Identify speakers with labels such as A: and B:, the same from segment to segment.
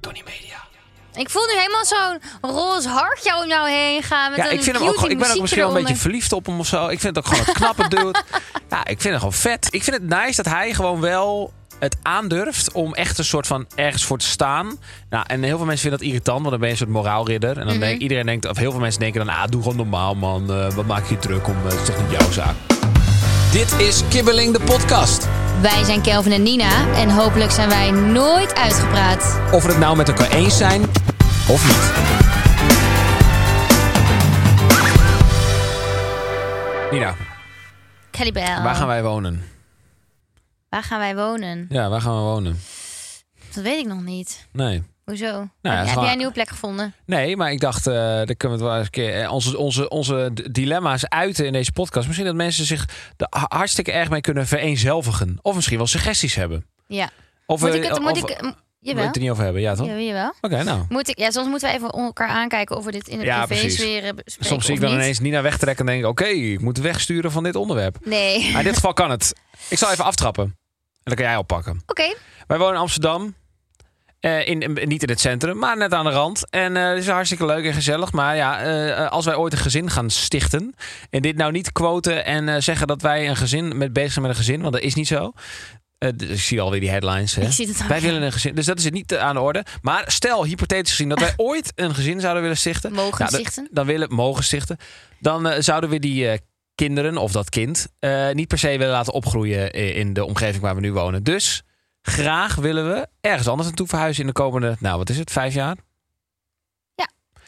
A: Tony Media.
B: Ik voel nu helemaal zo'n roze hartje om jou heen gaan. Met
A: Ja,
B: een
A: ik, vind hem ook,
B: cutie
A: gewoon- ik ben ook
B: muziekje
A: misschien wel een beetje
B: eronder.
A: verliefd op hem of zo. Ik vind het ook gewoon een knappe dude. Ja, ik vind hem gewoon vet. Ik vind het nice dat hij gewoon wel het aandurft om echt een soort van ergens voor te staan. Nou, en heel veel mensen vinden dat irritant, want dan ben je een soort moraalridder. En dan
B: Mhm.
A: denk, iedereen denkt, of heel veel mensen denken dan, ah, doe gewoon normaal man. Eh, wat maak je je druk om? Eh, het is toch niet jouw zaak. Dit is Kibbeling de podcast.
B: Wij zijn Kelvin en Nina. En hopelijk zijn wij nooit uitgepraat.
A: Of we het nou met elkaar eens zijn of niet. Nina,
B: Kelly Bell.
A: waar gaan wij wonen?
B: Waar gaan wij wonen?
A: Ja, waar gaan we wonen?
B: Dat weet ik nog niet.
A: Nee.
B: Hoezo?
A: Nou ja,
B: heb
A: het is
B: jij
A: wel-
B: een nieuwe plek gevonden?
A: Nee, maar ik dacht, eh daar kunnen we het wel eens een keer. eh, Onze, onze, onze d- dilemma's uiten in deze podcast. Misschien dat mensen zich er ha- hartstikke erg mee kunnen vereenzelvigen. Of misschien wel suggesties hebben.
B: Ja.
A: Of
B: moet
A: we-
B: ik het... Moet
A: of-
B: ik, mm,
A: we
B: jawel.
A: het er niet over hebben, ja toch?
B: Ja,
A: Oké,
B: jawel.
A: nou.
B: Moet ik, ja, soms moeten we even elkaar aankijken of we dit in de
A: Ja,
B: privé
A: precies.
B: sfeer eh, bespreken
A: Soms zie
B: of
A: ik dan
B: niet.
A: ineens Nina wegtrekken en denk ik... oké, ik moet wegsturen van dit onderwerp.
B: Nee.
A: Maar in dit geval kan het. Ik zal even aftrappen. En dan kan jij oppakken.
B: Oké.
A: Wij wonen in Amsterdam. Eh, in, in- niet in het centrum, maar net aan de rand. En eh, het is hartstikke leuk en gezellig. Maar ja, eh, eh, als wij ooit een gezin gaan stichten. En dit nou niet quoten en eh, zeggen dat wij een gezin met bezig zijn met een gezin. Want dat is niet zo. Eh, d- ik zie alweer die headlines. Hè?
B: Ik zie het ook,
A: wij
B: ja.
A: willen een gezin. Dus dat is het niet eh, aan de orde. Maar stel, hypothetisch gezien, dat wij ooit een gezin zouden willen stichten.
B: Mogen
A: dan-
B: stichten.
A: Dan willen, mogen stichten. Dan eh, zouden we die eh, kinderen of dat kind eh, niet per se willen laten opgroeien i- in de omgeving waar we nu wonen. Dus graag willen we ergens anders naartoe verhuizen in de komende, nou wat is het, vijf jaar?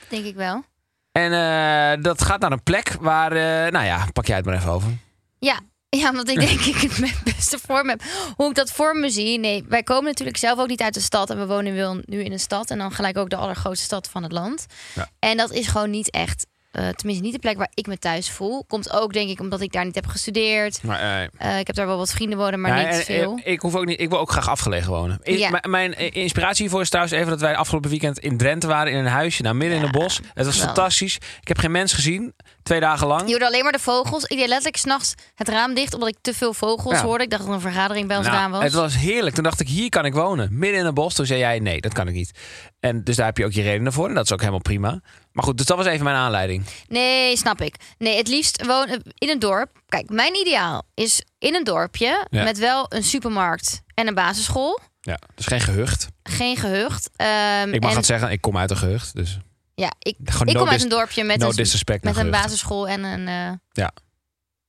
B: Denk ik wel.
A: En eh, dat gaat naar een plek waar, eh, nou ja, pak jij het maar even over.
B: Ja. Ja, omdat ik denk ik het met beste vorm heb. Hoe ik dat voor me zie. Nee, wij komen natuurlijk zelf ook niet uit de stad. En we wonen wel nu in een stad. En dan gelijk ook de allergrootste stad van het land.
A: Ja.
B: En dat is gewoon niet echt. eh, tenminste, niet de plek waar ik me thuis voel. Komt ook, denk ik, omdat ik daar niet heb gestudeerd.
A: Maar, eh,
B: Eh, ik heb daar wel wat vrienden wonen, maar
A: ja,
B: niet
A: en-
B: veel.
A: en- ik, hoef ook niet, ik wil ook graag afgelegen wonen. I-
B: Ja.
A: m- Mijn eh, inspiratie hiervoor is trouwens even dat wij afgelopen weekend in Drenthe waren. In een huisje, nou midden in een bos. Het was
B: wel.
A: fantastisch. Ik heb geen mens gezien, twee dagen lang.
B: Je hoorde alleen maar de vogels. Ik deed letterlijk s'nachts het raam dicht, omdat ik te veel vogels
A: Ja.
B: hoorde. Ik dacht dat er een vergadering bij ons
A: Nou,
B: gedaan was.
A: Het was heerlijk. Toen dacht ik, hier kan ik wonen. Midden in een bos. Toen zei jij, nee, dat kan ik niet. En dus daar heb je ook je redenen voor. En dat is ook helemaal prima. Maar goed, dus dat was even mijn aanleiding.
B: Nee, snap ik. Nee, het liefst wonen in een dorp. Kijk, mijn ideaal is in een dorpje
A: Ja.
B: met wel een supermarkt en een basisschool.
A: Ja, dus geen gehucht.
B: Geen gehucht. Ehm,
A: Ik mag
B: en,
A: het zeggen, ik kom uit een gehucht. Dus
B: Ja, ik,
A: Gewoon
B: ik
A: no
B: kom uit
A: dis-
B: een dorpje met
A: no
B: een,
A: disrespect
B: met
A: naar
B: een
A: gehuchten.
B: basisschool en een, eh
A: ja,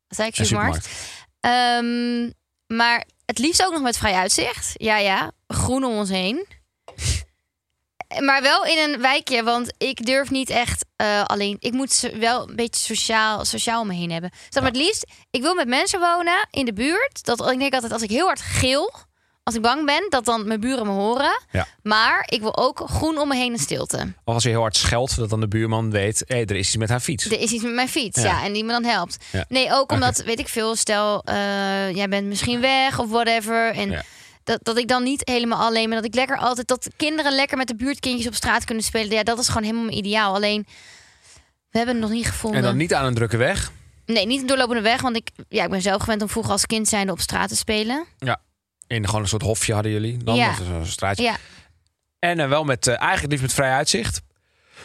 B: wat zei ik,
A: een
B: supermarkt.
A: supermarkt.
B: Ehm, maar het liefst ook nog met vrij uitzicht. Ja, ja. Groen om ons heen. Maar wel in een wijkje, want ik durf niet echt eh, alleen. Ik moet so- wel een beetje sociaal, sociaal om me heen hebben. Dus dan het liefst, ik wil met mensen wonen in de buurt. Dat, ik denk altijd, als ik heel hard gil, als ik bang ben, dat dan mijn buren me horen.
A: Ja.
B: Maar ik wil ook groen om me heen en stilte.
A: Of als je heel hard scheldt, dat dan de buurman weet... hé, er is iets met haar fiets.
B: Er is iets met mijn fiets, ja, en die me dan helpt.
A: Ja.
B: Nee, ook omdat, weet ik veel, stel eh, jij bent misschien weg of whatever. En
A: Ja.
B: dat, dat ik dan niet helemaal alleen ben. Dat ik lekker altijd, dat kinderen lekker met de buurtkindjes op straat kunnen spelen. Ja, dat is gewoon helemaal mijn ideaal. Alleen, we hebben het nog niet gevonden.
A: En dan niet aan een drukke weg.
B: Nee, niet een doorlopende weg, want ik, ja, ik ben zelf gewend om vroeger als kind zijnde op straat te spelen.
A: Ja. In gewoon een soort hofje hadden jullie. Dan
B: Ja.
A: of zo'n straatje.
B: Ja,
A: En eh, wel met, eh, eigenlijk liefst met vrij uitzicht.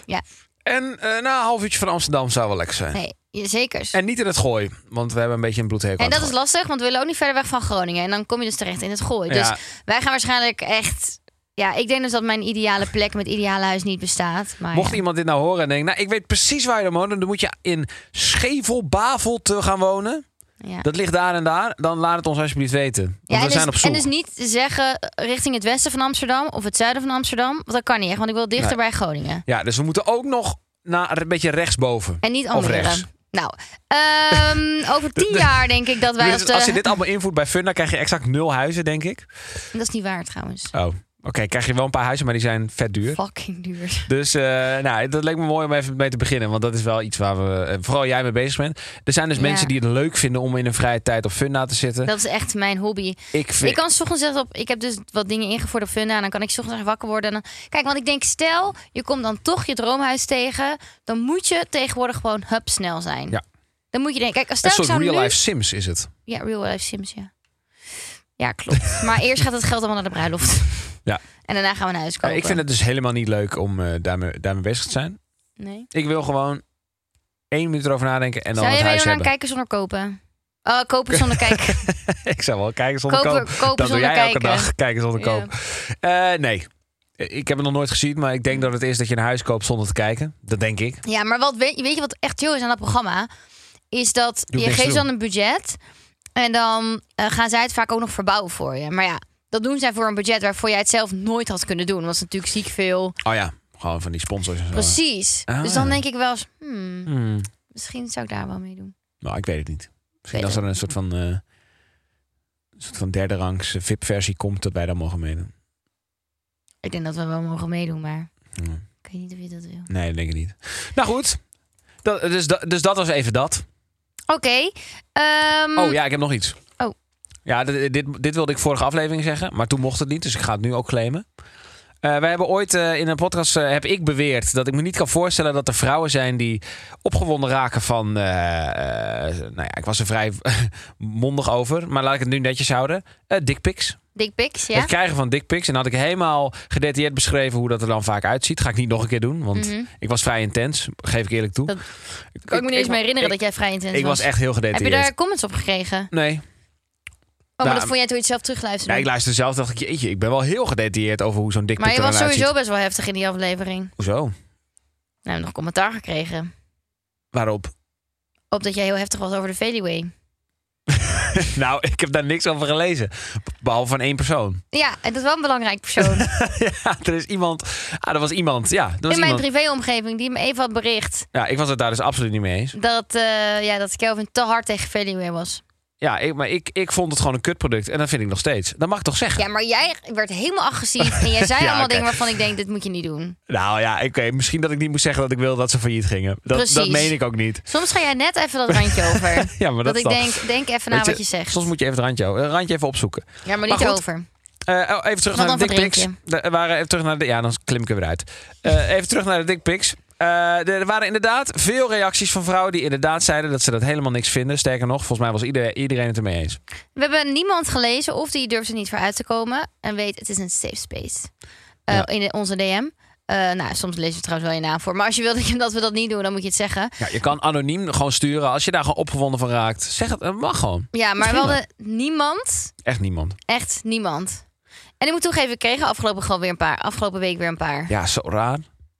B: Ja.
A: En eh, na een half uurtje van Amsterdam zou wel lekker zijn.
B: nee, je- zekers. En,
A: En niet in het gooi, want we hebben een beetje een bloedhekel. aan
B: dat
A: het
B: is lastig, want we willen ook niet verder weg van Groningen. En dan kom je dus terecht in het gooi. Dus
A: Ja.
B: wij gaan waarschijnlijk echt... Ja, ik denk dus dat mijn ideale plek met ideale huis niet bestaat. Maar
A: Mocht
B: ja.
A: iemand dit nou horen en denken, nou, ik weet precies waar je dan woont, dan moet je in Schevel, Bavel te gaan wonen.
B: Ja.
A: Dat ligt daar en daar. Dan laat het ons alsjeblieft weten. Want
B: Ja,
A: we
B: en,
A: zijn
B: dus,
A: op zoek.
B: en dus niet zeggen eh, richting het westen van Amsterdam of het zuiden van Amsterdam. Want dat kan niet echt, want ik wil dichter bij Groningen.
A: Ja, dus we moeten ook nog naar een beetje rechtsboven.
B: En niet
A: Of
B: Almere.
A: rechts.
B: Nou, ehm, over tien jaar denk ik dat wij
A: Dus
B: als de...
A: Als je dit allemaal invoert bij Funda, krijg je exact nul huizen, denk ik.
B: Dat is niet waar trouwens.
A: Oh, oké. krijg je wel een paar huizen, maar die zijn vet duur.
B: Fucking duur.
A: Dus eh, nou, dat leek me mooi om even mee te beginnen. Want dat is wel iets waar we, eh, vooral jij mee bezig bent. Er zijn dus
B: Ja.
A: mensen die het leuk vinden om in hun vrije tijd op Funda te zitten.
B: Dat is echt mijn hobby.
A: ik vind...
B: Ik kan 's ochtends echt op. Ik heb dus wat dingen ingevoerd op Funda. En dan kan ik 's ochtends echt wakker worden. En dan, kijk, want ik denk, stel, je komt dan toch je droomhuis tegen. Dan moet je tegenwoordig gewoon hup snel zijn.
A: Ja.
B: Dan moet je denken. Kijk, als stel
A: een
B: ik
A: soort
B: zou
A: real
B: nu-
A: life Sims is het.
B: Ja, real life Sims, ja. Ja, klopt. maar eerst gaat het geld allemaal naar de bruiloft.
A: Ja.
B: En daarna gaan we naar huis
A: Ja,
B: kopen.
A: ik vind het dus helemaal niet leuk om eh, daarmee, daarmee bezig te zijn.
B: Nee.
A: Ik wil gewoon één minuut erover nadenken en dan
B: Zou
A: het
B: je
A: huis
B: meedoen aan
A: hebben.
B: kijken zonder kopen? Oh, kopen zonder kijken.
A: ik zou wel kijken zonder
B: Kopen-
A: koop.
B: kopen
A: dat doe
B: zonder
A: jij elke
B: kijken.
A: dag. Kijken zonder
B: Ja.
A: koop. Eh, nee. Ik heb het nog nooit gezien, maar ik denk dat het is dat je een huis koopt zonder te kijken. Dat denk ik.
B: Ja, maar wat weet, weet je wat echt chill is aan dat programma? Is dat
A: hoeft
B: je,
A: niks te
B: geeft
A: doen.
B: dan een budget en dan eh, gaan zij het vaak ook nog verbouwen voor je. Maar ja, dat doen zij voor een budget waarvoor jij het zelf nooit had kunnen doen. Want het is natuurlijk ziek veel.
A: Oh ja, gewoon van die sponsors en zo.
B: Precies.
A: Ah.
B: Dus dan denk ik wel eens, hmm,
A: Hmm.
B: misschien zou ik daar wel mee doen.
A: Nou, ik weet het niet. Misschien
B: Weet
A: als
B: het
A: er een soort van, eh, soort van derde rangs eh, VIP-versie komt, dat wij dan mogen meedoen.
B: Ik denk dat we wel mogen meedoen, maar
A: Ja.
B: ik weet niet of je dat wil.
A: Nee, dat denk ik niet. Nou goed. Dat, dus, dat- dus dat was even dat.
B: Oké. ehm,
A: Oh ja, ik heb nog iets.
B: Oh.
A: Ja, dit, dit, dit wilde ik vorige aflevering zeggen, maar toen mocht het niet, dus ik ga het nu ook claimen. Eh, wij hebben ooit eh, in een podcast eh, heb ik beweerd dat ik me niet kan voorstellen dat er vrouwen zijn die opgewonden raken van. eh, eh, nou ja, ik was er vrij mondig over, maar laat ik het nu netjes houden. Eh dickpics.
B: Dick pics, ja?
A: Het krijgen van dickpics. En dan had ik helemaal gedetailleerd beschreven hoe dat er dan vaak uitziet. Ga ik niet nog een keer doen, want
B: Mhm.
A: ik was vrij intens, geef ik eerlijk toe.
B: Dat- kan ik me niet eens meer herinneren dat jij vrij intens
A: Ik was echt heel
B: Heb je daar
A: gedetailleerd.
B: comments op gekregen? Oh,
A: Nee.
B: maar
A: Nou,
B: dat vond jij toen je het zelf
A: Ja,
B: terugluisterde.
A: ik luisterde zelf dacht ik, jeetje, ik ben wel heel gedetailleerd over hoe zo'n dikpik
B: maar je was
A: eruit
B: sowieso
A: ziet.
B: best wel heftig in die aflevering.
A: Hoezo?
B: Nou, we hebben nog commentaar gekregen.
A: Waarop?
B: Op dat jij heel heftig was over de Veluwe.
A: nou, ik heb daar niks over gelezen. Behalve van één persoon.
B: Ja, en dat is wel een belangrijk persoon.
A: ja, er is iemand... Ah, er was iemand. Ja, er was
B: in mijn
A: iemand.
B: privéomgeving die me even had bericht
A: Ja, ik was het daar dus absoluut niet mee eens.
B: dat, eh, ja, dat Kelvin te hard tegen Veluwe was.
A: Ja, ik, maar ik, ik vond het gewoon een kutproduct. En dat vind ik nog steeds. Dat mag ik toch zeggen?
B: Ja, maar jij werd helemaal agressief en jij zei
A: Ja,
B: allemaal
A: oké.
B: dingen waarvan ik denk, dit moet je niet doen.
A: Nou ja, oké. misschien dat ik niet moest zeggen dat ik wilde dat ze failliet gingen. Dat, dat
B: Precies.
A: meen ik ook niet.
B: Soms ga jij net even dat randje over.
A: Ja, maar dat,
B: dat,
A: is
B: ik
A: dan-
B: denk, denk even na
A: Weet
B: wat je zegt.
A: Soms moet je even het randje, het randje even opzoeken.
B: Ja, maar
A: Maar
B: niet
A: goed.
B: over.
A: Eh, oh, even terug
B: Want
A: naar de
B: dan
A: dickpics.
B: verdrink
A: Er waren even terug naar de, ja, dan klim ik er weer uit. Eh, even terug naar de dickpics. Eh, er waren inderdaad veel reacties van vrouwen die inderdaad zeiden dat ze dat helemaal niks vinden. Sterker nog, volgens mij was iedereen, iedereen het ermee eens.
B: We hebben niemand gelezen of die durft er niet voor uit te komen. En weet, het is een safe space. Eh,
A: Ja.
B: In onze DM. Eh, nou, soms lezen we trouwens wel je naam voor. Maar als je wilt dat we dat niet doen, dan moet je het zeggen.
A: Ja, je kan anoniem gewoon sturen als je daar gewoon opgewonden van raakt. Zeg het, het mag gewoon.
B: Ja, maar
A: Prima.
B: wel niemand.
A: Echt niemand.
B: Echt niemand. En ik moet toegeven, ik kreeg afgelopen, gewoon weer een paar, afgelopen week weer een paar.
A: Ja, zo raar.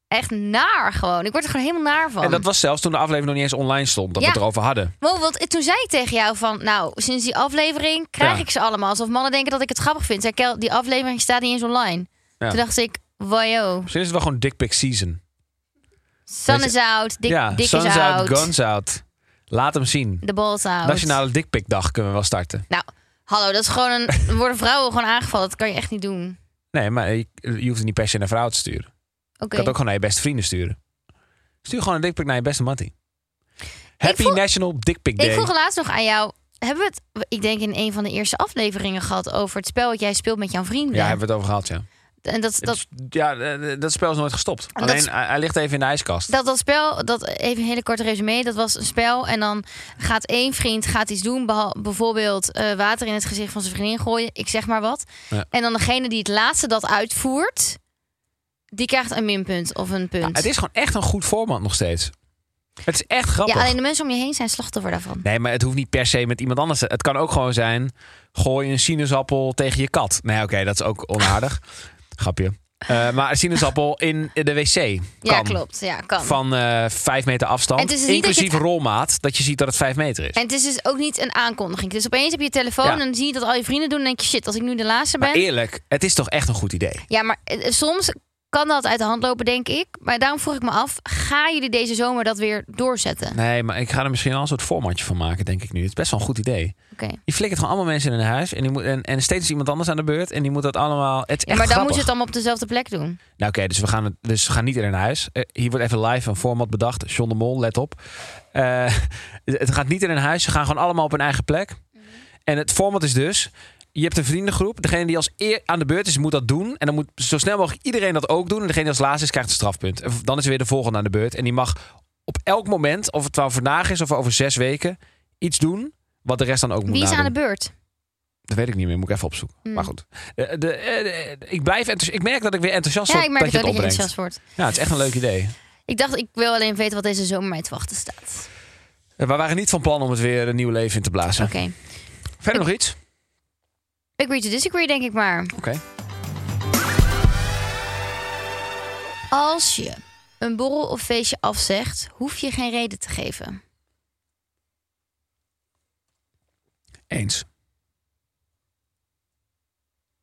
B: Echt naar gewoon. Ik word er gewoon helemaal naar van.
A: En dat was zelfs toen de aflevering nog niet eens online stond, dat we
B: Ja.
A: het erover hadden.
B: Wow, want toen zei ik tegen jou van, nou, sinds die aflevering krijg
A: Ja.
B: ik ze allemaal. Alsof mannen denken dat ik het grappig vind. Zei Kel, die aflevering staat niet eens online.
A: Ja.
B: Toen dacht ik, wajo,
A: Misschien is het wel gewoon dickpic season.
B: sun
A: Weet
B: is out, dik,
A: ja,
B: dik
A: suns
B: is out.
A: out, guns out. Laat hem zien.
B: De balls out.
A: Nationale dickpic dag kunnen we wel starten.
B: Nou, hallo, dat is gewoon een. er worden vrouwen gewoon aangevallen? Dat kan je echt niet doen.
A: Nee, maar je, je hoeft het niet per se naar vrouwen te sturen.
B: Oké.
A: Je kan het ook gewoon naar je beste vrienden sturen. Stuur gewoon een dikpik naar je beste mattie. Happy
B: vroeg-
A: National Dickpic Day.
B: Ik vroeg laatst nog aan jou. Hebben we het, ik denk in een van de eerste afleveringen gehad over het spel wat jij speelt met jouw vrienden?
A: Ja, hebben we het over gehad, ja.
B: En dat, dat,
A: Het is- ja, eh, dat spel is nooit gestopt.
B: Dat
A: Alleen,
B: is-
A: hij, hij ligt even in de ijskast.
B: dat, dat spel, dat, even een hele korte resume, dat was een spel. En dan gaat één vriend gaat iets doen, behal- bijvoorbeeld eh, water in het gezicht van zijn vriendin gooien, ik zeg maar wat.
A: Ja.
B: En dan degene die het laatste dat uitvoert, die krijgt een minpunt of een punt.
A: Ja, het is gewoon echt een goed format nog steeds. Het is echt grappig.
B: Ja, alleen de mensen om je heen zijn slachtoffer daarvan.
A: Nee, maar het hoeft niet per se met iemand anders. te- Het kan ook gewoon zijn, gooi een sinaasappel tegen je kat. Nee, oké, dat is ook onaardig. Grapje. Eh, maar een sinaasappel in de wc kan.
B: Ja, klopt. Ja, kan.
A: van eh vijf meter afstand.
B: En het is dus niet dat je
A: inclusief
B: het-
A: rolmaat, dat je ziet dat het vijf meter is.
B: En het is dus ook niet een aankondiging. Dus opeens heb je je telefoon
A: Ja.
B: en dan zie je dat al je vrienden doen. En denk je, shit, als ik nu de laatste
A: Maar
B: ben.
A: eerlijk, het is toch echt een goed idee.
B: Ja, maar eh, eh, soms kan dat uit de hand lopen, denk ik. Maar daarom vroeg ik me af, gaan jullie deze zomer dat weer doorzetten?
A: Nee, maar ik ga er misschien wel een soort formatje van maken, denk ik nu. Het is best wel een goed idee.
B: Oké.
A: Je flikkert gewoon allemaal mensen in een huis en, die moet, en, en steeds is iemand anders aan de beurt en die moet dat allemaal. Het is
B: Ja,
A: echt
B: maar dan moet
A: grappig.
B: je het allemaal op dezelfde plek doen.
A: Nou, oké, dus we gaan, het- dus we gaan niet in een huis. Eh, hier wordt even live een format bedacht. John de Mol, let op. Eh, het gaat niet in een huis. Ze gaan gewoon allemaal op hun eigen plek.
B: Mhm.
A: En het format is dus. Je hebt een vriendengroep. Degene die als eer aan de beurt is, moet dat doen. En dan moet zo snel mogelijk iedereen dat ook doen. En degene die als laatste is, krijgt een strafpunt. En dan is er weer de volgende aan de beurt. En die mag op elk moment, of het nou vandaag is of over zes weken, iets doen. Wat de rest dan ook moet
B: Wie is
A: nadoen.
B: aan de beurt? Mm.
A: Dat weet ik niet meer, moet ik even opzoeken. Maar goed. Eh, de, eh, de- ik blijf enthousi- Ik merk dat ik weer enthousiast
B: Ja,
A: word
B: ik merk
A: dat
B: het
A: je
B: ook
A: het
B: dat je enthousiast
A: opbrengt.
B: wordt.
A: Ja, Nou, het is echt een leuk idee.
B: Ik dacht, ik wil alleen weten wat deze zomer mij te wachten staat.
A: Eh, We waren niet van plan om het weer een nieuw leven in te blazen.
B: Oké.
A: Verder nog iets?
B: Agree to disagree, denk ik maar.
A: Oké.
B: Als je een borrel of feestje afzegt, hoef je geen reden te geven.
A: Eens.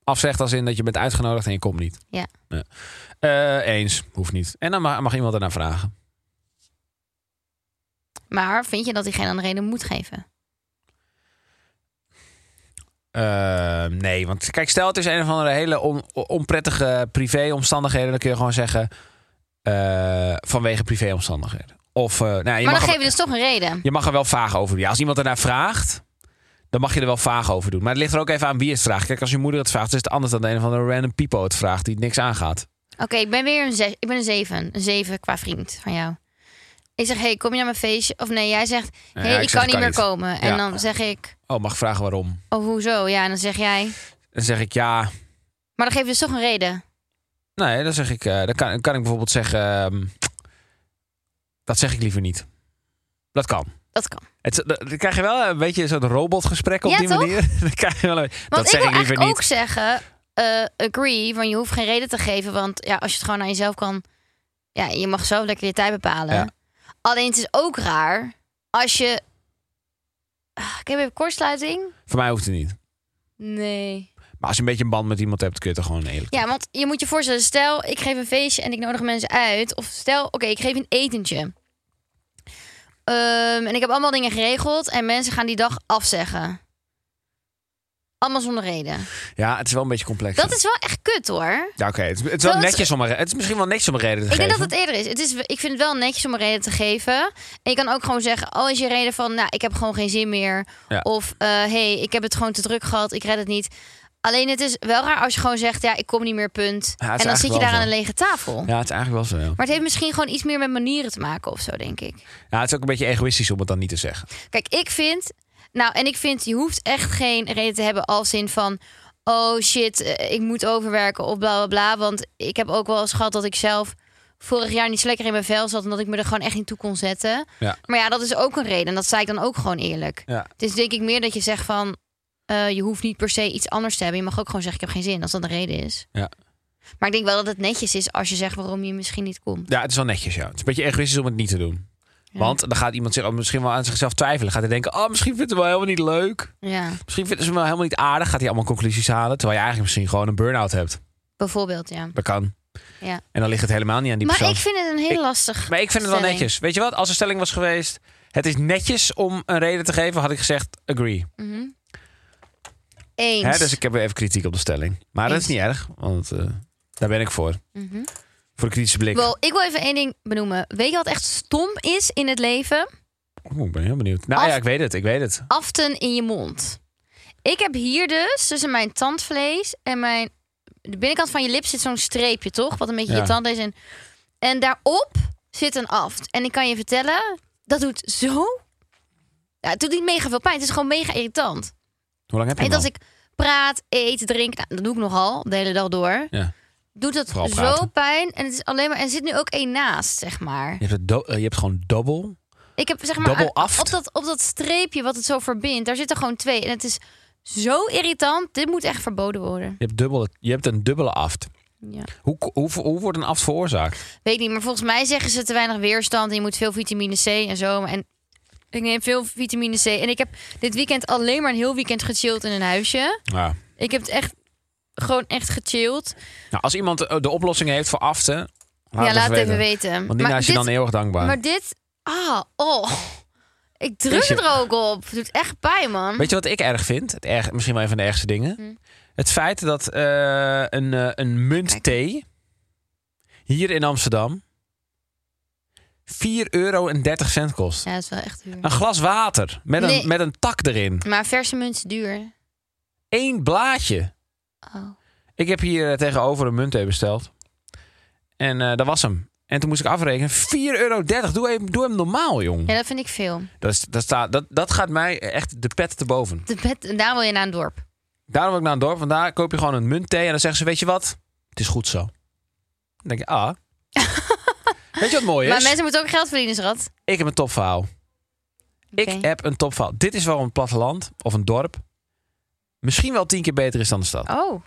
A: Afzegt als in dat je bent uitgenodigd en je komt niet.
B: Ja.
A: Eh, eens. Hoeft niet. En dan ma- mag iemand daarna vragen.
B: Maar vind je dat hij geen andere reden moet geven?
A: Eh, nee, want kijk, stel het is een of andere hele on- onprettige privéomstandigheden. Dan kun je gewoon zeggen eh, vanwege privéomstandigheden. Of, eh, nou, ja, je
B: maar
A: mag
B: dan
A: er-
B: geef je dus toch een reden.
A: Je mag er wel vaag over doen. Ja, als iemand ernaar vraagt, dan mag je er wel vaag over doen. Maar het ligt er ook even aan wie het vraagt. Kijk, als je moeder het vraagt, is het anders dan de een of andere random people het vraagt die het niks aangaat.
B: Oké, ik ben weer een, zes, ik ben een zeven. Een zeven qua vriend van jou. Ik zeg, hey, kom je naar mijn feestje? Of nee, jij zegt, hey,
A: ja, ik
B: ik
A: zeg,
B: kan niet meer komen. En
A: Ja.
B: dan zeg ik,
A: Oh, mag ik vragen waarom?
B: oh, hoezo? Ja, en dan zeg jij...
A: Dan zeg ik ja.
B: Maar dan geef je dus toch een reden.
A: Nee, dan zeg ik, eh, dan, kan, dan kan ik bijvoorbeeld zeggen, ehm, dat zeg ik liever niet. Dat kan.
B: Dat kan.
A: Het, is- dan krijg je wel een beetje zo'n robotgesprek op
B: Ja,
A: die
B: toch?
A: manier. Dan krijg je wel een,
B: Want
A: dat zeg
B: ik
A: ik
B: wil
A: liever
B: eigenlijk
A: niet.
B: ook zeggen, eh, agree, van je hoeft geen reden te geven. Want ja, als je het gewoon aan jezelf kan... Ja, je mag zelf lekker je tijd bepalen.
A: Ja.
B: Alleen het is ook raar als je... Ah, Ik heb even kortsluiting.
A: Voor mij hoeft het niet.
B: Nee.
A: Maar als je een beetje een band met iemand hebt, kun je het er gewoon eerlijk
B: Ja, want je moet je voorstellen, stel ik geef een feestje en ik nodig mensen uit. Of stel, oké, ik geef een etentje. Ehm, en ik heb allemaal dingen geregeld en mensen gaan die dag afzeggen. Allemaal zonder reden.
A: Ja, het is wel een beetje complex.
B: Dat is wel echt kut hoor.
A: Ja, oké. Het, is- het is wel
B: Dat-
A: netjes om een, re- het is misschien wel netjes om een reden te
B: Ik denk
A: geven.
B: dat het eerder is. Het is. Ik vind het wel netjes om een reden te geven. En je kan ook gewoon zeggen, oh is je reden van, nou ik heb gewoon geen zin meer.
A: Ja.
B: Of eh, hey, ik heb het gewoon te druk gehad, ik red het niet. Alleen het is wel raar als je gewoon zegt, ja ik kom niet meer, punt.
A: Ja, het is
B: en dan zit je
A: eigenlijk
B: daar
A: wel
B: aan een
A: zo.
B: lege tafel.
A: Ja, het is eigenlijk wel zo. Ja.
B: Maar het heeft misschien gewoon iets meer met manieren te maken of zo, denk ik.
A: Ja, het is ook een beetje egoïstisch om het dan niet te zeggen.
B: Kijk, ik vind... Nou, en ik vind, je hoeft echt geen reden te hebben als in van... Oh shit, eh, ik moet overwerken of bla bla bla. Want ik heb ook wel eens gehad dat ik zelf vorig jaar niet zo lekker in mijn vel zat... en dat ik me er gewoon echt niet toe kon zetten.
A: Ja.
B: Maar ja, dat is ook een reden. En dat zei ik dan ook gewoon eerlijk.
A: Ja.
B: Het is denk ik meer dat je zegt van... eh, je hoeft niet per se iets anders te hebben. Je mag ook gewoon zeggen, ik heb geen zin, als dat een reden is.
A: Ja.
B: Maar ik denk wel dat het netjes is als je zegt waarom je misschien niet komt.
A: ja, het is wel netjes, ja. Het is een beetje egoïstisch om het niet te doen. Want dan gaat iemand zich misschien wel aan zichzelf twijfelen. Gaat hij denken, oh, misschien vindt het wel helemaal niet leuk.
B: Ja,
A: Misschien vinden ze me wel helemaal niet aardig. Gaat hij allemaal conclusies halen. Terwijl je eigenlijk misschien gewoon een burn-out hebt.
B: bijvoorbeeld, ja.
A: Dat kan.
B: ja.
A: En dan ligt het helemaal niet aan die
B: Maar
A: persoon.
B: ik vind het een heel
A: Ik-
B: lastig.
A: maar ik vind het wel
B: stelling.
A: netjes. Weet je wat? Als de stelling was geweest, het is netjes om een reden te geven, had ik gezegd, agree.
B: Mhm. Eens.
A: Hè, dus ik heb weer even kritiek op de stelling. Maar dat is
B: Eens.
A: niet erg, want eh, daar ben ik voor.
B: Mhm.
A: Voor de kritische blik.
B: Wel, ik wil even één ding benoemen. Weet je wat echt stom is in het leven?
A: Oeh, ik ben heel benieuwd. Nou
B: Af-
A: ja, ik weet het, ik weet het.
B: Aften in je mond. Ik heb hier dus tussen mijn tandvlees en mijn... De binnenkant van je lip zit zo'n streepje, toch? Wat een beetje
A: Ja.
B: je tandvlees en... En daarop zit een aft. En ik kan je vertellen, dat doet zo... Ja, het doet niet mega veel pijn. Het is gewoon mega irritant.
A: Hoe lang heb je
B: En
A: hem
B: als
A: al?
B: ik praat, eet, drink, nou, dat doe ik nogal de hele dag door.
A: Ja.
B: Doet dat
A: Vooral
B: zo
A: praten.
B: pijn. En het is alleen maar. En er zit nu ook één naast, zeg maar.
A: Je hebt, het do- eh, je hebt gewoon dubbel.
B: Ik heb zeg maar.
A: Double
B: aan-
A: aft.
B: Op dat, op dat streepje wat het zo verbindt, daar zitten gewoon twee. En het is zo irritant. Dit moet echt verboden worden.
A: Je hebt, dubbele, je hebt een dubbele aft.
B: Ja.
A: Hoe, ko- hoe, hoe wordt een aft veroorzaakt?
B: Weet ik niet, maar volgens mij zeggen ze te weinig weerstand. En je moet veel vitamine C en zo. maar- En ik neem veel vitamine C. En ik heb dit weekend alleen maar een heel weekend gechilled in een huisje.
A: Ja.
B: Ik heb het echt gewoon echt gechilled.
A: Nou, als iemand eh, de oplossing heeft voor aften, laat, het
B: ja,
A: even
B: laat het even
A: weten.
B: weten.
A: Want Nina is je
B: dit-
A: dan heel erg dankbaar.
B: Maar dit... Ah, oh. Ik druk
A: Is je-
B: het er ook op. Het doet echt pijn, man.
A: Weet je wat ik erg vind? Het erg, misschien wel een van de ergste dingen.
B: Mhm.
A: Het feit dat eh, een, eh, een munt thee hier in Amsterdam 4,30 euro kost.
B: Ja, dat is wel echt duur.
A: Een glas water met een,
B: Nee.
A: met een tak erin.
B: Maar verse munt is duur.
A: Eén blaadje.
B: Oh.
A: Ik heb hier eh, tegenover een munt thee besteld. En eh, dat was hem. En toen moest ik afrekenen. 4,30 euro. Doe, even, doe hem normaal, jong.
B: Ja, dat vind ik veel.
A: Dat, is, dat, staat, dat, dat gaat mij echt de pet te boven.
B: De bed, daar wil je naar een dorp.
A: Oh, Daarom wil ik naar een dorp, want daar koop je gewoon een munt thee. En dan zeggen ze, weet je wat? Het is goed zo. Dan denk je, ah. weet je wat mooi is?
B: Maar mensen moeten ook geld verdienen, schat.
A: Ik heb een topverhaal.
B: Oké.
A: Ik heb een topverhaal. Dit is waarom een platteland of een dorp misschien wel tien keer beter is dan de stad.
B: Oh,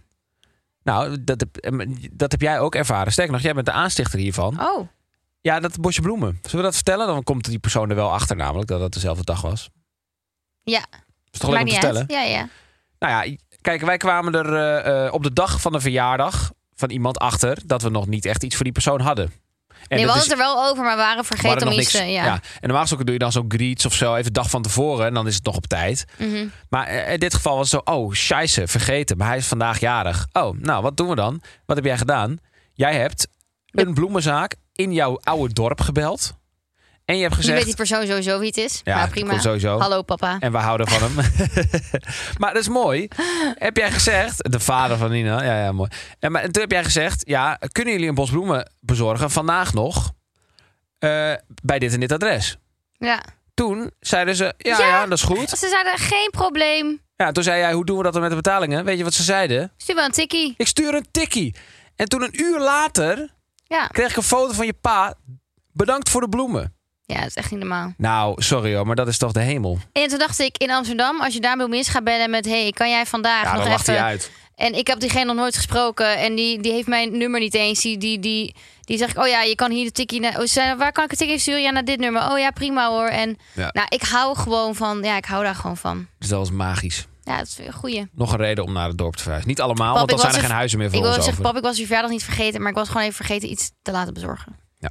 A: Nou, dat heb, em, dat heb jij ook ervaren. Sterker nog, jij bent de aanstichter hiervan.
B: oh.
A: Ja, dat bosje bloemen. Zullen we dat vertellen? Dan komt die persoon er wel achter namelijk, dat dat dezelfde dag was.
B: Ja,
A: Is toch leuk om
B: niet
A: te vertellen?
B: uit. Ja, ja.
A: Nou ja, kijk, wij kwamen er eh, eh, op de dag van de verjaardag van iemand achter dat we nog niet echt iets voor die persoon hadden. En
B: nee, we
A: dat
B: hadden
A: is-
B: het er wel over, maar we waren
A: we hadden
B: vergeten om
A: nog
B: iets te...
A: niks-
B: Ja.
A: En normaal gesproken doe je dan zo'n greets of zo even de dag van tevoren en dan is het nog op tijd.
B: Mhm.
A: Maar eh, in dit geval was het zo, oh, scheisse, vergeten, maar hij is vandaag jarig. Oh, nou, wat doen we dan? Wat heb jij gedaan? Jij hebt een bloemenzaak in jouw oude dorp gebeld en je hebt
B: Je weet
A: gezegd...
B: die persoon sowieso wie het is.
A: Ja,
B: maar
A: dat
B: prima.
A: komt sowieso.
B: Hallo papa.
A: En we houden van hem. maar dat is mooi. Heb jij gezegd, de vader van Nina, ja, ja, mooi. En, maar, en toen heb jij gezegd, ja, kunnen jullie een bos bloemen bezorgen vandaag nog eh, bij dit en dit adres?
B: Ja.
A: Toen zeiden ze, ja, ja.
B: Ja.
A: dat is goed.
B: Ze zeiden geen probleem.
A: Ja, toen zei jij, hoe doen we dat dan met de betalingen? Weet je wat ze zeiden?
B: Stuur wel een tikkie.
A: Ik stuur een tikkie. En toen een uur later
B: Ja.
A: kreeg ik een foto van je pa. Bedankt voor de bloemen.
B: ja, dat is echt niet normaal.
A: Nou, sorry hoor, maar dat is toch de hemel.
B: En toen dacht ik in Amsterdam, als je daar wil mis gaat bellen met... hey, kan jij vandaag
A: Ja,
B: nog even...
A: dan lacht hij uit.
B: En ik heb diegene nog nooit gesproken. En die, die heeft mijn nummer niet eens. Die, die, die, die zeg ik, oh ja, je kan hier de tikkie naar... Oh, ze zei, waar kan ik een tikkie sturen? Ja, naar dit nummer. Oh ja, prima hoor. En
A: Ja.
B: nou, ik hou gewoon van... Ja, ik hou daar gewoon van.
A: Dus dat was magisch.
B: Ja, dat is weer een goeie.
A: nog een reden om naar het dorp te verhuizen. Niet allemaal,
B: Pap,
A: Nou, want dan
B: ik was
A: zijn er
B: er-
A: geen huizen meer voor
B: ik wil
A: ons
B: even
A: over.
B: zeggen, pap, ik was je verjaardag niet vergeten. Maar ik was gewoon even vergeten iets te laten bezorgen.
A: Ja.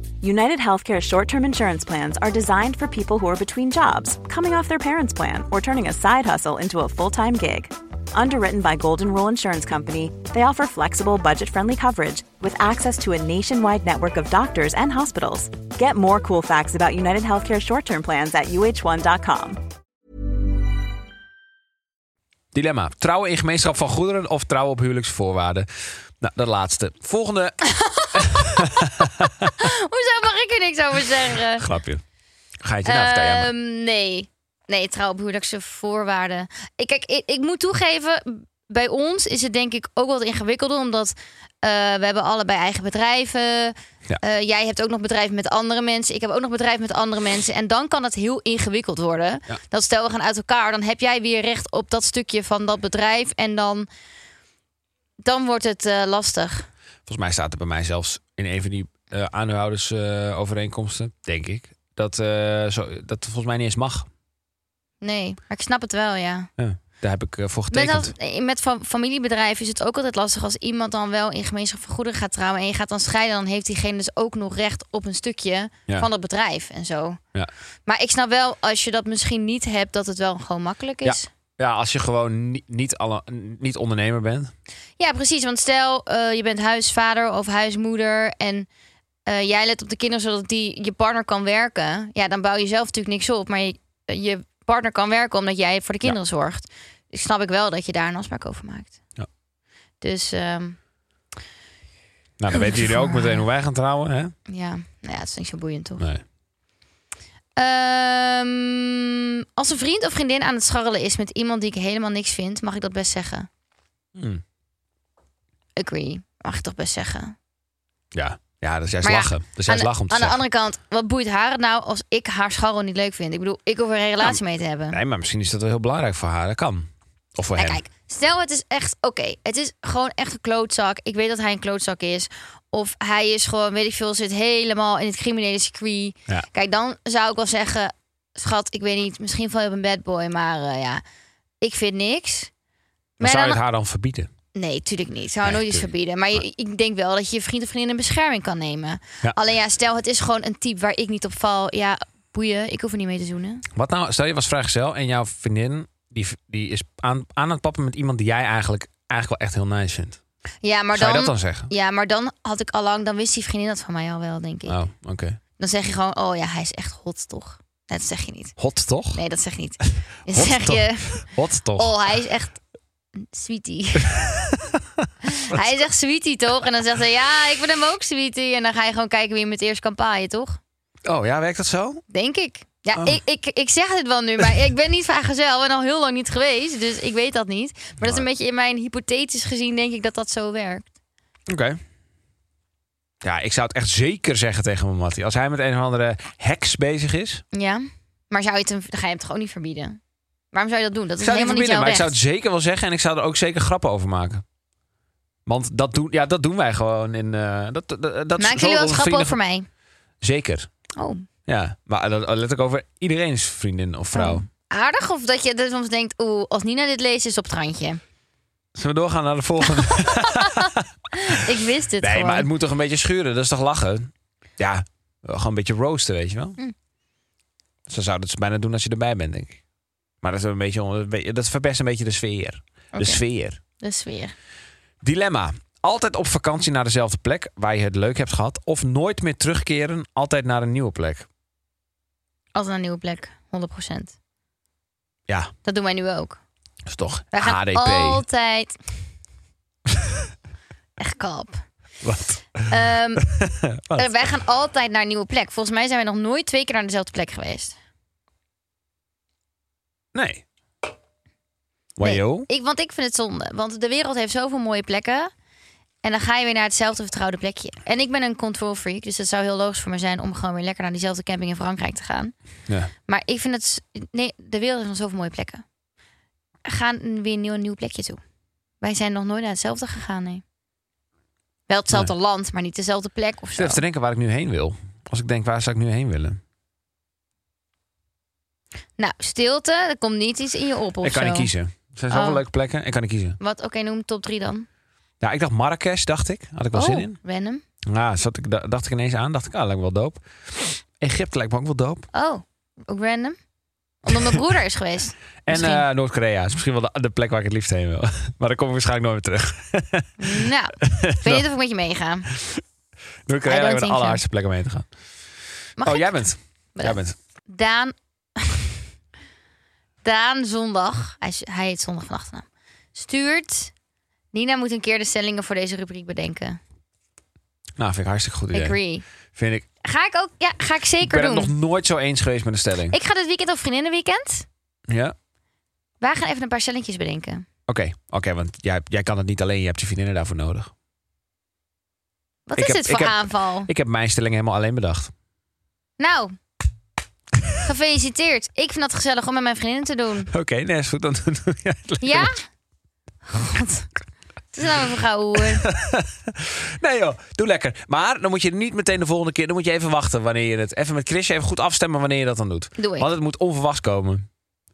C: United Healthcare short term insurance plans are designed for people who are between jobs, coming off their parents' plan, or turning a side hustle into a full time gig. Underwritten by Golden Rule Insurance Company, they offer flexible, budget friendly coverage with access to a nationwide network of doctors and hospitals. Get more cool facts about United Healthcare short term plans at uh1.com.
A: Dilemma. Trouwen in gemeenschap van goederen of trouwen op huwelijksvoorwaarden? Nou, dat laatste. Volgende
B: Hoezo mag ik er niks over zeggen?
A: grapje. Ga je het je nou vertellen? maar-
B: Ehm, nee. Nee, trouw op huwelijkse voorwaarden. Ik, kijk, ik, ik moet toegeven, bij ons is het denk ik ook wat ingewikkelder. Omdat eh, we hebben allebei eigen bedrijven.
A: Ja.
B: Eh, jij hebt ook nog bedrijven met andere mensen. Ik heb ook nog bedrijven met andere mensen. En dan kan het heel ingewikkeld worden.
A: Ja.
B: Dat stel we gaan uit elkaar, dan heb jij weer recht op dat stukje van dat bedrijf. En dan, dan wordt het eh, lastig.
A: Volgens mij staat er bij mij zelfs in een van die eh aanhoudersovereenkomsten, denk ik, dat, eh, zo, dat volgens mij niet eens mag.
B: Nee, maar ik snap het wel, ja.
A: Ja, daar heb ik eh, voor
B: Met,
A: getekend.
B: als, met fam- familiebedrijven is het ook altijd lastig als iemand dan wel in gemeenschap van goederen gaat trouwen en je gaat dan scheiden, dan heeft diegene dus ook nog recht op een stukje
A: Ja.
B: van het bedrijf en zo.
A: Ja.
B: Maar ik snap wel als je dat misschien niet hebt, dat het wel gewoon makkelijk is.
A: Ja, als je gewoon ni- niet, alle, niet ondernemer bent.
B: Ja, precies. Want stel eh, je bent huisvader of huismoeder en eh, jij let op de kinderen zodat die je partner kan werken. Ja, dan bouw je zelf natuurlijk niks op, maar je, eh, je partner kan werken omdat jij voor de kinderen zorgt. Dus snap ik wel dat je daar een afspraak over maakt.
A: Ja.
B: Dus. ehm,
A: Nou, dan weten jullie ook meteen hoe wij gaan trouwen, hè?
B: Ja, nou ja, het is niet zo boeiend toch?
A: Nee.
B: Ehm, als een vriend of vriendin aan het scharrelen is met iemand die ik helemaal niks vind, mag ik dat best zeggen?
A: Hm.
B: Agree. Mag ik toch best zeggen?
A: Ja. ja, dat is juist
B: Maar ja,
A: lachen. Dat is
B: aan
A: juist
B: de,
A: lachen om te
B: aan de
A: zeggen.
B: andere kant, wat boeit haar het nou als ik haar scharrel niet leuk vind? Ik bedoel, ik hoef er een relatie mee te hebben.
A: Nee, maar misschien is dat wel heel belangrijk voor haar. Dat kan. Of voor
B: En
A: hem.
B: Nou, kijk, stel het is echt, oké, het is gewoon echt een klootzak. Ik weet dat hij een klootzak is. Of hij is gewoon, weet ik veel, zit helemaal in het criminele circuit.
A: Ja.
B: Kijk, dan zou ik wel zeggen, schat, ik weet niet, misschien val je op een bad boy, maar eh, ja, ik vind niks.
A: Maar zou je
B: dan-
A: het haar dan verbieden?
B: Nee, tuurlijk niet. Ik zou
A: Nee,
B: nooit iets
A: tuurlijk.
B: verbieden. Maar je- ik denk wel dat je je vriend of vriendin in bescherming kan nemen.
A: Ja.
B: Alleen ja, stel het is gewoon een type waar ik niet op val. Ja, boeien, ik hoef er niet mee te zoenen.
A: Wat nou, stel je was vrijgezel en jouw vriendin die, die is aan, aan het pappen met iemand die jij eigenlijk, eigenlijk wel echt heel nice vindt.
B: Ja, maar
A: zou
B: dan,
A: je dat dan zeggen?
B: Ja, maar dan had ik al lang, dan wist die vriendin dat van mij al wel, denk ik.
A: Oh, oké.
B: Dan zeg je gewoon, oh ja, hij is echt hot, toch? Nee, dat zeg je niet.
A: Hot toch?
B: Nee, dat zeg je niet. Dan
A: Hot
B: zeg
A: toch?
B: je,
A: Hot toch?
B: oh, hij is echt sweetie. hij is echt sweetie, toch? En dan zegt hij, ja, ik ben hem ook sweetie. En dan ga je gewoon kijken wie hem het eerst kan paaien, toch?
A: Oh ja, werkt dat zo?
B: Denk ik. Ja,
A: Oh.
B: ik, ik, ik zeg dit wel nu, maar ik ben niet vrijgezel en al heel lang niet geweest. Dus ik weet dat niet. Maar dat is een beetje in mijn hypothetisch gezien, denk ik dat dat zo werkt.
A: Oké. Ja, ik zou het echt zeker zeggen tegen mijn Mattie. Als hij met een of andere heks bezig is.
B: Ja. Maar zou je het hem, dan ga je hem toch ook niet verbieden? Waarom zou je dat doen? Dat
A: Ik
B: is
A: zou het niet
B: helemaal niet
A: verbinden,
B: jouw
A: maar ik zou
B: recht.
A: het zeker wel zeggen. En ik zou er ook zeker grappen over maken. Want dat, doen, ja, dat doen wij gewoon in... eh dat, dat, dat, dat-
B: Maak
A: zo
B: jullie wel
A: onze
B: eens grappen
A: vrienden-
B: over mij?
A: Zeker,
B: Oh,
A: ja. Maar dat let ik over iedereen's vriendin of vrouw.
B: Oh. aardig? Of dat je dat soms denkt, oeh, als Nina dit leest, is het op het randje.
A: Zullen we doorgaan naar de volgende?
B: Ik wist dit
A: nee,
B: gewoon.
A: maar het moet toch een beetje schuren? Dat is toch lachen? Ja, gewoon een beetje roosten, weet je wel?
B: Mm.
A: Ze zouden het bijna doen als je erbij bent, denk ik. Maar dat, is een beetje, on- dat verpest een beetje de sfeer.
B: Oké,
A: De sfeer.
B: De sfeer.
A: Dilemma. Altijd op vakantie naar dezelfde plek waar je het leuk hebt gehad. Of nooit meer terugkeren, altijd naar een nieuwe plek.
B: Altijd naar een nieuwe plek, 100%.
A: Ja,
B: Dat doen wij nu ook.
A: dat is toch
B: Wij gaan
A: HDP.
B: altijd... Echt kap.
A: Wat?
B: Ehm,
A: Wat?
B: eh, wij gaan altijd naar een nieuwe plek. Volgens mij zijn wij nog nooit twee keer naar dezelfde plek geweest.
A: Nee.
B: Nee,
A: Wajo?
B: ik, want ik vind het zonde. Want de wereld heeft zoveel mooie plekken. En dan ga je weer naar hetzelfde vertrouwde plekje. En ik ben een control freak. Dus het zou heel logisch voor me zijn om gewoon weer lekker naar diezelfde camping in Frankrijk te gaan.
A: Ja.
B: Maar ik vind het. s- Nee, de wereld heeft nog zoveel mooie plekken. Ga weer een nieuw, nieuw plekje toe. Wij zijn nog nooit naar hetzelfde gegaan, nee. Wel hetzelfde land, maar niet dezelfde plek of
A: Ik
B: zo.
A: zit even te denken waar ik nu heen wil. Als ik denk, waar zou ik nu heen willen?
B: Nou, stilte, er komt niet iets in je op of
A: ik kan
B: zo.
A: niet kiezen. Er zijn zoveel
B: Oh.
A: leuke plekken. Ik kan niet kiezen.
B: Wat, oké, noem top drie dan. Oh,
A: Ja, ik dacht Marrakesh, dacht ik. Had ik wel zin in.
B: Random.
A: Ja, zat ik, da- dacht ik ineens aan. Dacht ik, ah, lijkt me wel doop. Egypte lijkt me ook wel doop.
B: Oh, ook random. Omdat mijn broer er is geweest.
A: En
B: Misschien.
A: eh, Noord-Korea is misschien wel de, de plek waar ik het liefst heen wil. Maar daar kom ik waarschijnlijk nooit meer terug.
B: Nou, ik weet niet of ik met je meega.
A: Noord-Korea
B: I don't
A: lijkt me de
B: think so.
A: allerhardste plek om heen te gaan.
B: Mag
A: oh,
B: ik?
A: jij bent. Jij
B: Oh, Bedankt.
A: bent.
B: Daan. Daan Zondag. Hij, is- hij heet Zondag van achternaam. Stuurt. Nina moet een keer de stellingen voor deze rubriek bedenken.
A: Nou, vind ik hartstikke goed idee.
B: Agree.
A: Vind ik.
B: Ga ik ook? Ja, ga ik
A: Ik
B: zeker
A: ben het
B: doen.
A: nog nooit zo eens geweest met een stelling.
B: Ik ga dit weekend op vriendinnenweekend.
A: Ja? Oké,
B: Wij gaan even een paar stellingjes bedenken.
A: oké, want jij, jij kan het niet alleen. Je hebt je vriendinnen daarvoor nodig.
B: Wat
A: Ik
B: is
A: heb-
B: dit voor
A: ik heb-
B: aanval?
A: Ik heb mijn stelling helemaal alleen bedacht.
B: Nou, gefeliciteerd. Ik vind het gezellig om met mijn vriendinnen te doen.
A: Oké, nee, is goed. Dan doe jij het lekker.
B: Ja? God. Het is nou even gauw hoor.
A: Nee joh, doe lekker. Maar dan moet je niet meteen de volgende keer... dan moet je even wachten wanneer je het... even met Chrisje even goed afstemmen wanneer je dat dan doet.
B: Doe ik.
A: Want het moet onverwachts komen.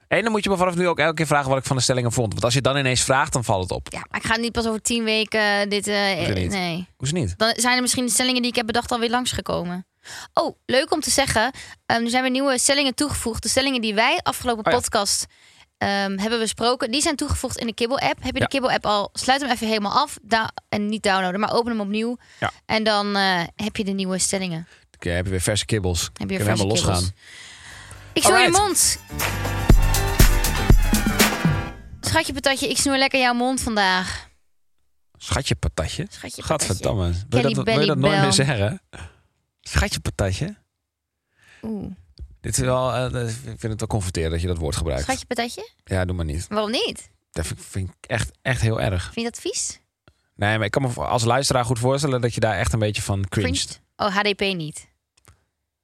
A: En dan moet je me vanaf nu ook elke keer vragen wat ik van de stellingen vond. Want als je het dan ineens vraagt, dan valt het op.
B: Ja, maar ik ga niet pas over tien weken dit... eh,
A: Hoeft er niet.
B: nee.
A: Hoezo niet?
B: Dan zijn er misschien de stellingen die ik heb bedacht alweer langsgekomen. Oh, leuk om te zeggen. ehm, er zijn weer nieuwe stellingen toegevoegd. De stellingen die wij afgelopen
A: Oh ja.
B: podcast ehm, hebben besproken, die zijn toegevoegd in de Kibbel-app. Heb je
A: Ja.
B: de Kibbel-app al? Sluit hem even helemaal af. Da- en niet downloaden, maar open hem opnieuw.
A: Ja.
B: En dan eh, heb je de nieuwe stellingen.
A: Oké, heb je weer verse kibbels.
B: Heb je
A: Kunnen we
B: verse
A: helemaal
B: kibbels.
A: losgaan.
B: Ik snoer je
A: Alright.
B: mond. Schatje patatje, ik snoer lekker jouw mond vandaag.
A: Schatje patatje.
B: Schatje patatje.
A: Gadverdamme. Wil
B: Kelly
A: je dat, wil je dat nooit
B: Bellybel.
A: meer zeggen? Schatje patatje.
B: Oeh.
A: Dit is wel, eh, ik vind het wel confronterend dat je dat woord gebruikt.
B: Schatje patatje?
A: Ja, doe maar niet.
B: Waarom niet?
A: Dat vind ik- vind ik echt, echt heel erg.
B: Vind je dat vies?
A: Nee, maar ik kan me voor- als luisteraar goed voorstellen dat je daar echt een beetje van cringet.
B: Cringed? Oh, HDP niet.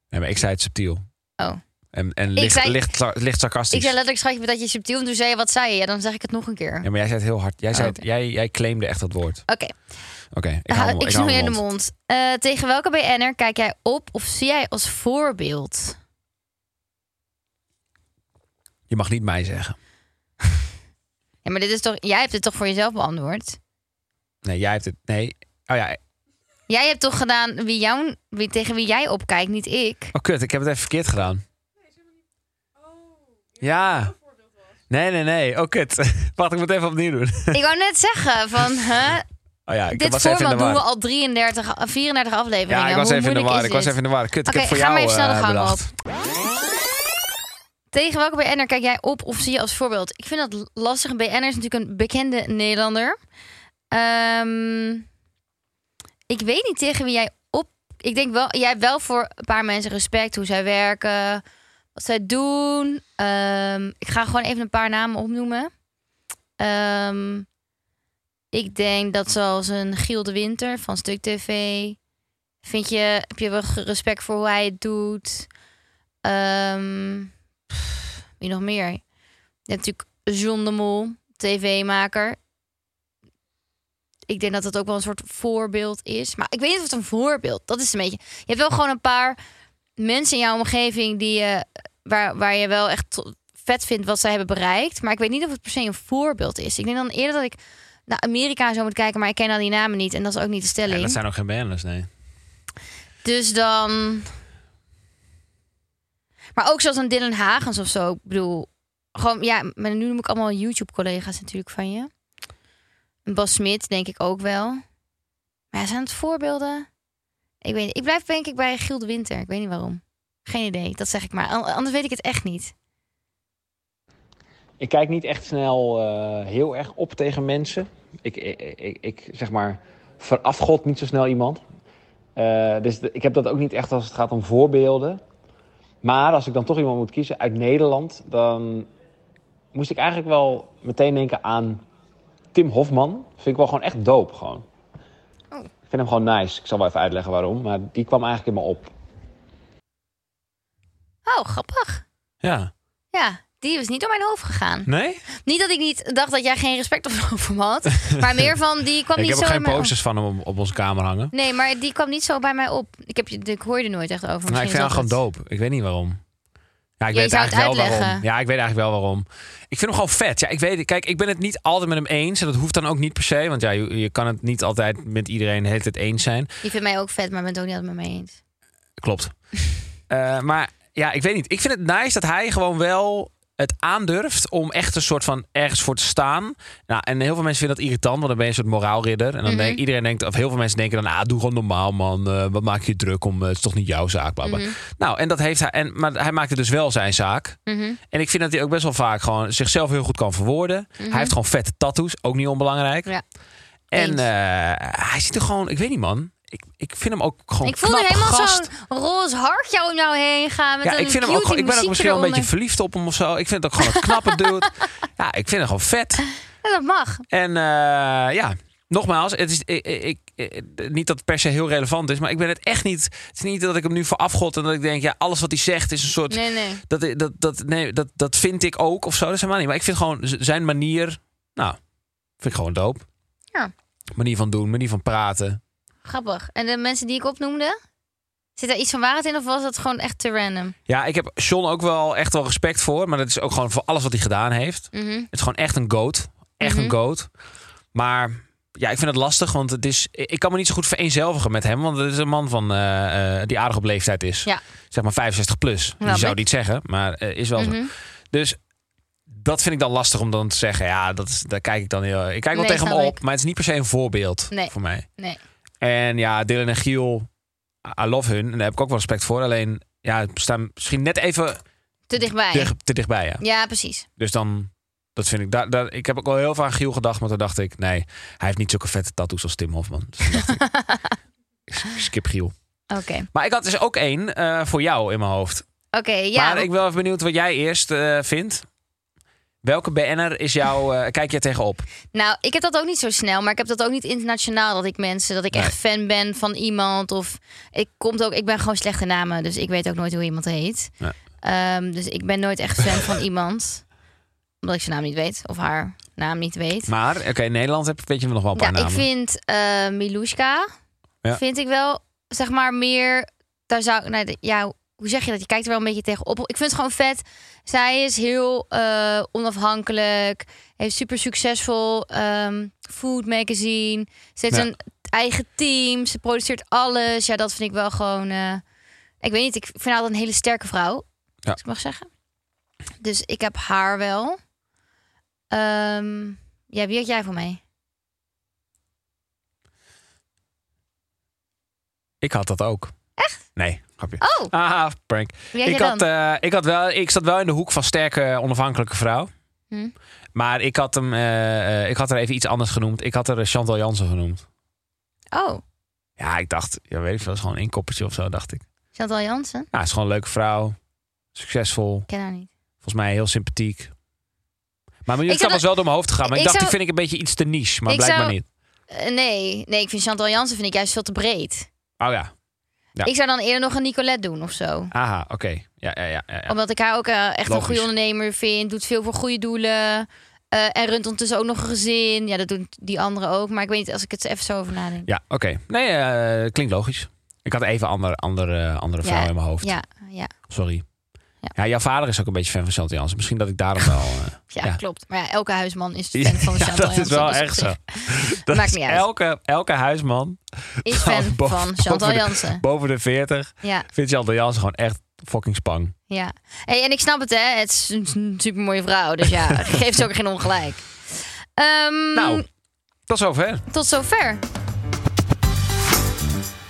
A: Nee, maar ik zei het subtiel.
B: Oh.
A: En, en licht,
B: zei-
A: licht, licht sarcastisch.
B: Ik zei letterlijk, schatje, dat je subtiel. En toen zei je, wat zei je? Ja, dan zeg ik het nog een keer.
A: ja, maar jij zei het heel hard. Jij, zei het-
B: Oh, Oké.
A: jij, jij claimde echt dat woord.
B: Oké,
A: Oké, ik hou hem-
B: ik
A: hou
B: snoei
A: hem
B: in de mond. Eh, tegen welke BN'er kijk jij op of zie jij als voorbeeld?
A: Je mag niet mij zeggen.
B: Ja, maar dit is toch, jij hebt het toch voor jezelf beantwoord?
A: Nee, jij hebt het. Nee. Oh ja.
B: Jij hebt toch gedaan wie jou, wie, tegen wie jij opkijkt, niet ik?
A: Oh kut, ik heb het even verkeerd gedaan. Ja. Nee, nee, nee. Oh kut. Wacht, ik moet even opnieuw doen.
B: ik wou net zeggen van, hè,
A: Oh ja, ik
B: dit
A: was even in de
B: format doen we
A: war.
B: al 33, 34 afleveringen.
A: Ja, ik was
B: Hoe
A: even in de
B: moeilijk
A: war.
B: is
A: Ik was
B: dit?
A: even in de war. Kut,
B: Oké,
A: ik heb voor
B: ga
A: jou
B: maar even snel de
A: eh,
B: gang
A: bedacht.
B: Tegen welke BN'er kijk jij op of zie je als voorbeeld? Ik vind dat lastig. Een BN'er is natuurlijk een bekende Nederlander. Ehm, ik weet niet tegen wie jij op... Ik denk wel, jij hebt wel voor een paar mensen respect. Hoe zij werken, wat zij doen. Ehm, ik ga gewoon even een paar namen opnoemen. Ehm, ik denk dat zoals een Giel de Winter van Stuk TV... Vind je, heb je wel respect voor hoe hij het doet? Ehm, pff, wie nog meer? Je hebt natuurlijk John de Mol, tv-maker. Ik denk dat dat ook wel een soort voorbeeld is. Maar ik weet niet of het een voorbeeld Dat is een beetje... Je hebt wel gewoon een paar mensen in jouw omgeving... Die je, waar, waar je wel echt to- vet vindt wat zij hebben bereikt. Maar ik weet niet of het per se een voorbeeld is. Ik denk dan eerder dat ik naar Amerika en zo moet kijken... maar ik ken al die namen niet. En dat is ook niet de stelling.
A: Ja, dat zijn ook geen banners, nee.
B: Dus dan. Maar ook zoals een Dylan Hagens of zo. Ik bedoel, gewoon, ja, maar nu noem ik allemaal YouTube-collega's natuurlijk van je. En Bas Smit, denk ik ook wel. Maar zijn het voorbeelden? Ik weet niet. Ik blijf denk ik bij Giel de Winter. Ik weet niet waarom. Geen idee, dat zeg ik maar. An- Anders weet ik het echt niet.
D: Ik kijk niet echt snel eh, heel erg op tegen mensen. Ik, ik, ik, ik, zeg maar verafgod niet zo snel iemand. Eh, dus de- ik heb dat ook niet echt als het gaat om voorbeelden. Maar als ik dan toch iemand moet kiezen uit Nederland, dan moest ik eigenlijk wel meteen denken aan Tim Hofman. Vind ik wel gewoon echt dope gewoon. Ik vind hem gewoon nice. Ik zal wel even uitleggen waarom. Maar die kwam eigenlijk in me op.
B: Oh, grappig.
A: Ja.
B: Ja, die is niet door mijn hoofd gegaan.
A: Nee?
B: Niet dat ik niet dacht dat jij geen respect voor me had. Maar meer van, die kwam
A: ik
B: niet
A: heb
B: zo
A: ook geen
B: in mijn-
A: posters van hem op, op onze kamer hangen.
B: Nee, maar die kwam niet zo bij mij op. Ik, heb, je- ik hoor je er nooit echt over.
A: Nou, ik
B: Misschien
A: vind haar
B: is dat
A: gewoon doop. Ik weet niet waarom. Ja, ik
B: Ja, je
A: weet
B: zou het
A: eigenlijk wel
B: uitleggen.
A: waarom. Ja, ik weet eigenlijk wel waarom. Ik vind hem gewoon vet. Ja, ik weet het. Kijk, ik ben het niet altijd met hem eens. En dat hoeft dan ook niet per se. Want ja, je, je kan het niet altijd met iedereen de hele tijd eens zijn.
B: het. Je vindt mij ook vet, maar bent het ook niet altijd met mij eens.
A: Klopt. Eh, maar ja, ik weet niet. Ik vind het nice dat hij gewoon wel het aandurft om echt een soort van ergens voor te staan. Nou, en heel veel mensen vinden dat irritant, want dan ben je een soort moraalridder. En dan
B: Mhm.
A: denkt iedereen denkt, of heel veel mensen denken dan, ah, doe gewoon normaal man. Eh, wat maak je je druk om? Eh, het is toch niet jouw zaak, baba.
B: Mhm.
A: Nou, en dat heeft hij. En, maar hij maakte dus wel zijn zaak.
B: Mhm.
A: En ik vind dat hij ook best wel vaak gewoon zichzelf heel goed kan verwoorden. Hij heeft gewoon vette tattoos, ook niet onbelangrijk.
B: Mhm. Ja.
A: En
B: Eens.
A: eh, hij ziet er gewoon, ik weet niet man. Ik, ik vind hem ook gewoon
B: ik voel
A: knap
B: nu helemaal
A: gast.
B: zo'n roze hartje om jou heen gaan. Met
A: Ja,
B: een
A: ik vind hem ook
B: cutie
A: gewoon. Ik ben ook
B: muziekje
A: misschien wel een beetje
B: eronder.
A: verliefd op hem of zo. Ik vind het ook gewoon een knappe dude. Ja, ik vind hem gewoon vet.
B: Ja, dat mag.
A: En eh, ja, nogmaals, het is, ik, ik, ik- niet dat het per se heel relevant is, maar ik ben het echt niet. Het is niet dat ik hem nu voor afgod en dat ik denk, ja, alles wat hij zegt is een soort.
B: Nee, nee.
A: Dat, dat, dat, nee, dat, dat vind ik ook of zo. Dat is helemaal niet. Maar ik vind gewoon z- zijn manier. Nou, vind ik gewoon doop.
B: Ja.
A: Manier van doen, manier van praten.
B: Grappig. En de mensen die ik opnoemde? Zit daar iets van waarheid in of was dat gewoon echt te random?
A: Ja, ik heb John ook wel echt wel respect voor. Maar dat is ook gewoon voor alles wat hij gedaan heeft.
B: Mhm.
A: Het is gewoon echt een goat. Echt een goat. Maar ja, ik vind het lastig, want het is, ik kan me niet zo goed vereenzelvigen met hem. Want het is een man van, eh, eh, die aardig op leeftijd is.
B: Ja.
A: Zeg maar 65 plus. Die
B: Snap
A: zou
B: ik.
A: niet zeggen, maar eh, is wel
B: Mhm.
A: zo. Dus dat vind ik dan lastig om dan te zeggen. Ja, dat is, daar kijk ik dan heel... Ik kijk wel
B: Nee,
A: tegen hem
B: snap
A: op,
B: ik.
A: maar het is niet per se een voorbeeld
B: Nee.
A: voor mij.
B: Nee.
A: En ja, Dylan en Giel, I I love hun. En daar heb ik ook wel respect voor. Alleen, ja, ze staan misschien net even
B: Te dichtbij.
A: te, te dichtbij, ja.
B: Ah, Ja, precies.
A: Dus dan, dat vind ik. Daar, daar, ik heb ook al heel vaak aan Giel gedacht, maar toen dacht ik, nee, hij heeft niet zulke vette tattoos als Tim Hofman. Dus toen dacht ik, ik skip Giel.
B: Oké.
A: Maar ik had dus ook één eh, voor jou in mijn hoofd.
B: Oké, ja.
A: maar ik ben wel even benieuwd wat jij eerst eh, vindt. Welke BN'er is jou, eh, kijk jij tegenop?
B: Nou, ik heb dat ook niet zo snel, maar ik heb dat ook niet internationaal dat ik mensen dat ik echt fan ben van iemand of ik komt ook. Ik ben gewoon slechte namen, dus ik weet ook nooit hoe iemand heet.
A: Ja.
B: Ehm, dus ik ben nooit echt fan van iemand. Omdat ik zijn naam niet weet. Of haar naam niet weet.
A: Maar, oké, in Nederland heb, weet je nog wel een
B: ja,
A: paar namen.
B: ik vind eh Milushka.
A: Ja.
B: Vind ik wel, zeg maar, meer. Daar zou, nou, de- ja, hoe zeg je dat? Je kijkt er wel een beetje tegenop. Ik vind het gewoon vet. Zij is heel eh, onafhankelijk. Heeft super succesvol ehm, food magazine. Ze heeft
A: Ja.
B: een eigen team. Ze produceert alles. Ja, dat vind ik wel gewoon. eh, ik weet niet. Ik vind haar een hele sterke vrouw.
A: Ja.
B: Als ik mag zeggen. Dus ik heb haar wel. Ehm, ja, wie had jij voor mij?
A: Ik had dat ook. Echt? Nee, grapje.
B: Oh,
A: Ah, prank.
B: Wie had
A: ik,
B: je
A: had, eh, ik, had wel, ik zat wel in de hoek van sterke, onafhankelijke vrouw.
B: Hm.
A: Maar ik had, hem, eh, eh, ik had er even iets anders genoemd. Ik had er Chantal Jansen genoemd.
B: oh.
A: Ja, ik dacht, ja, weet ik veel, is gewoon een inkoppertje of zo, dacht ik.
B: Chantal Jansen?
A: Nou, het is gewoon een leuke vrouw. Succesvol.
B: Ik ken haar niet.
A: Volgens mij heel sympathiek. Maar mijn
B: Ik zou
A: was wel door mijn hoofd gegaan. Maar ik,
B: ik
A: dacht,
B: zou-
A: die vind ik een beetje iets te niche. Maar
B: Ik
A: blijkbaar
B: zou-
A: niet.
B: Eh, nee, nee, ik vind Chantal Jansen vind ik juist veel te breed.
A: Oh ja. Ja.
B: Ik zou dan eerder nog een Nicolette doen of zo.
A: Aha, oké. Ja, ja, ja, ja, ja.
B: Omdat ik haar ook eh, echt een
A: Logisch.
B: goede ondernemer vind. Doet veel voor goede doelen. eh, en runt ondertussen ook nog een gezin. Ja, dat doen die anderen ook. Maar ik weet niet, als ik het even zo over nadenk.
A: Ja, oké. Nee, eh, klinkt logisch. Ik had even andere, andere, eh, andere vrouw in mijn hoofd.
B: Ja, ja,
A: Sorry. Ja.
B: Ja.
A: jouw vader is ook een beetje fan van Chantal Jansen. Misschien dat ik daarom wel... eh,
B: ja,
A: Ja.
B: klopt. Maar ja, elke huisman is fan
A: Ja,
B: van Chantal
A: dat is
B: Jansen,
A: wel
B: dus op
A: echt
B: zich
A: zo. Dat
B: Maakt
A: is
B: niet uit.
A: Elke, elke huisman
B: Is fan
A: Bo-
B: van
A: boven
B: Chantal
A: de-
B: Jansen.
A: boven de 40
B: Ja,
A: vindt Chantal Jansen gewoon echt fucking spang.
B: ja. Hey, en ik snap het, hè. Het is een super mooie vrouw. Dus ja, geeft ze ook geen ongelijk. Ehm,
A: Nou, tot zover.
B: Tot zover.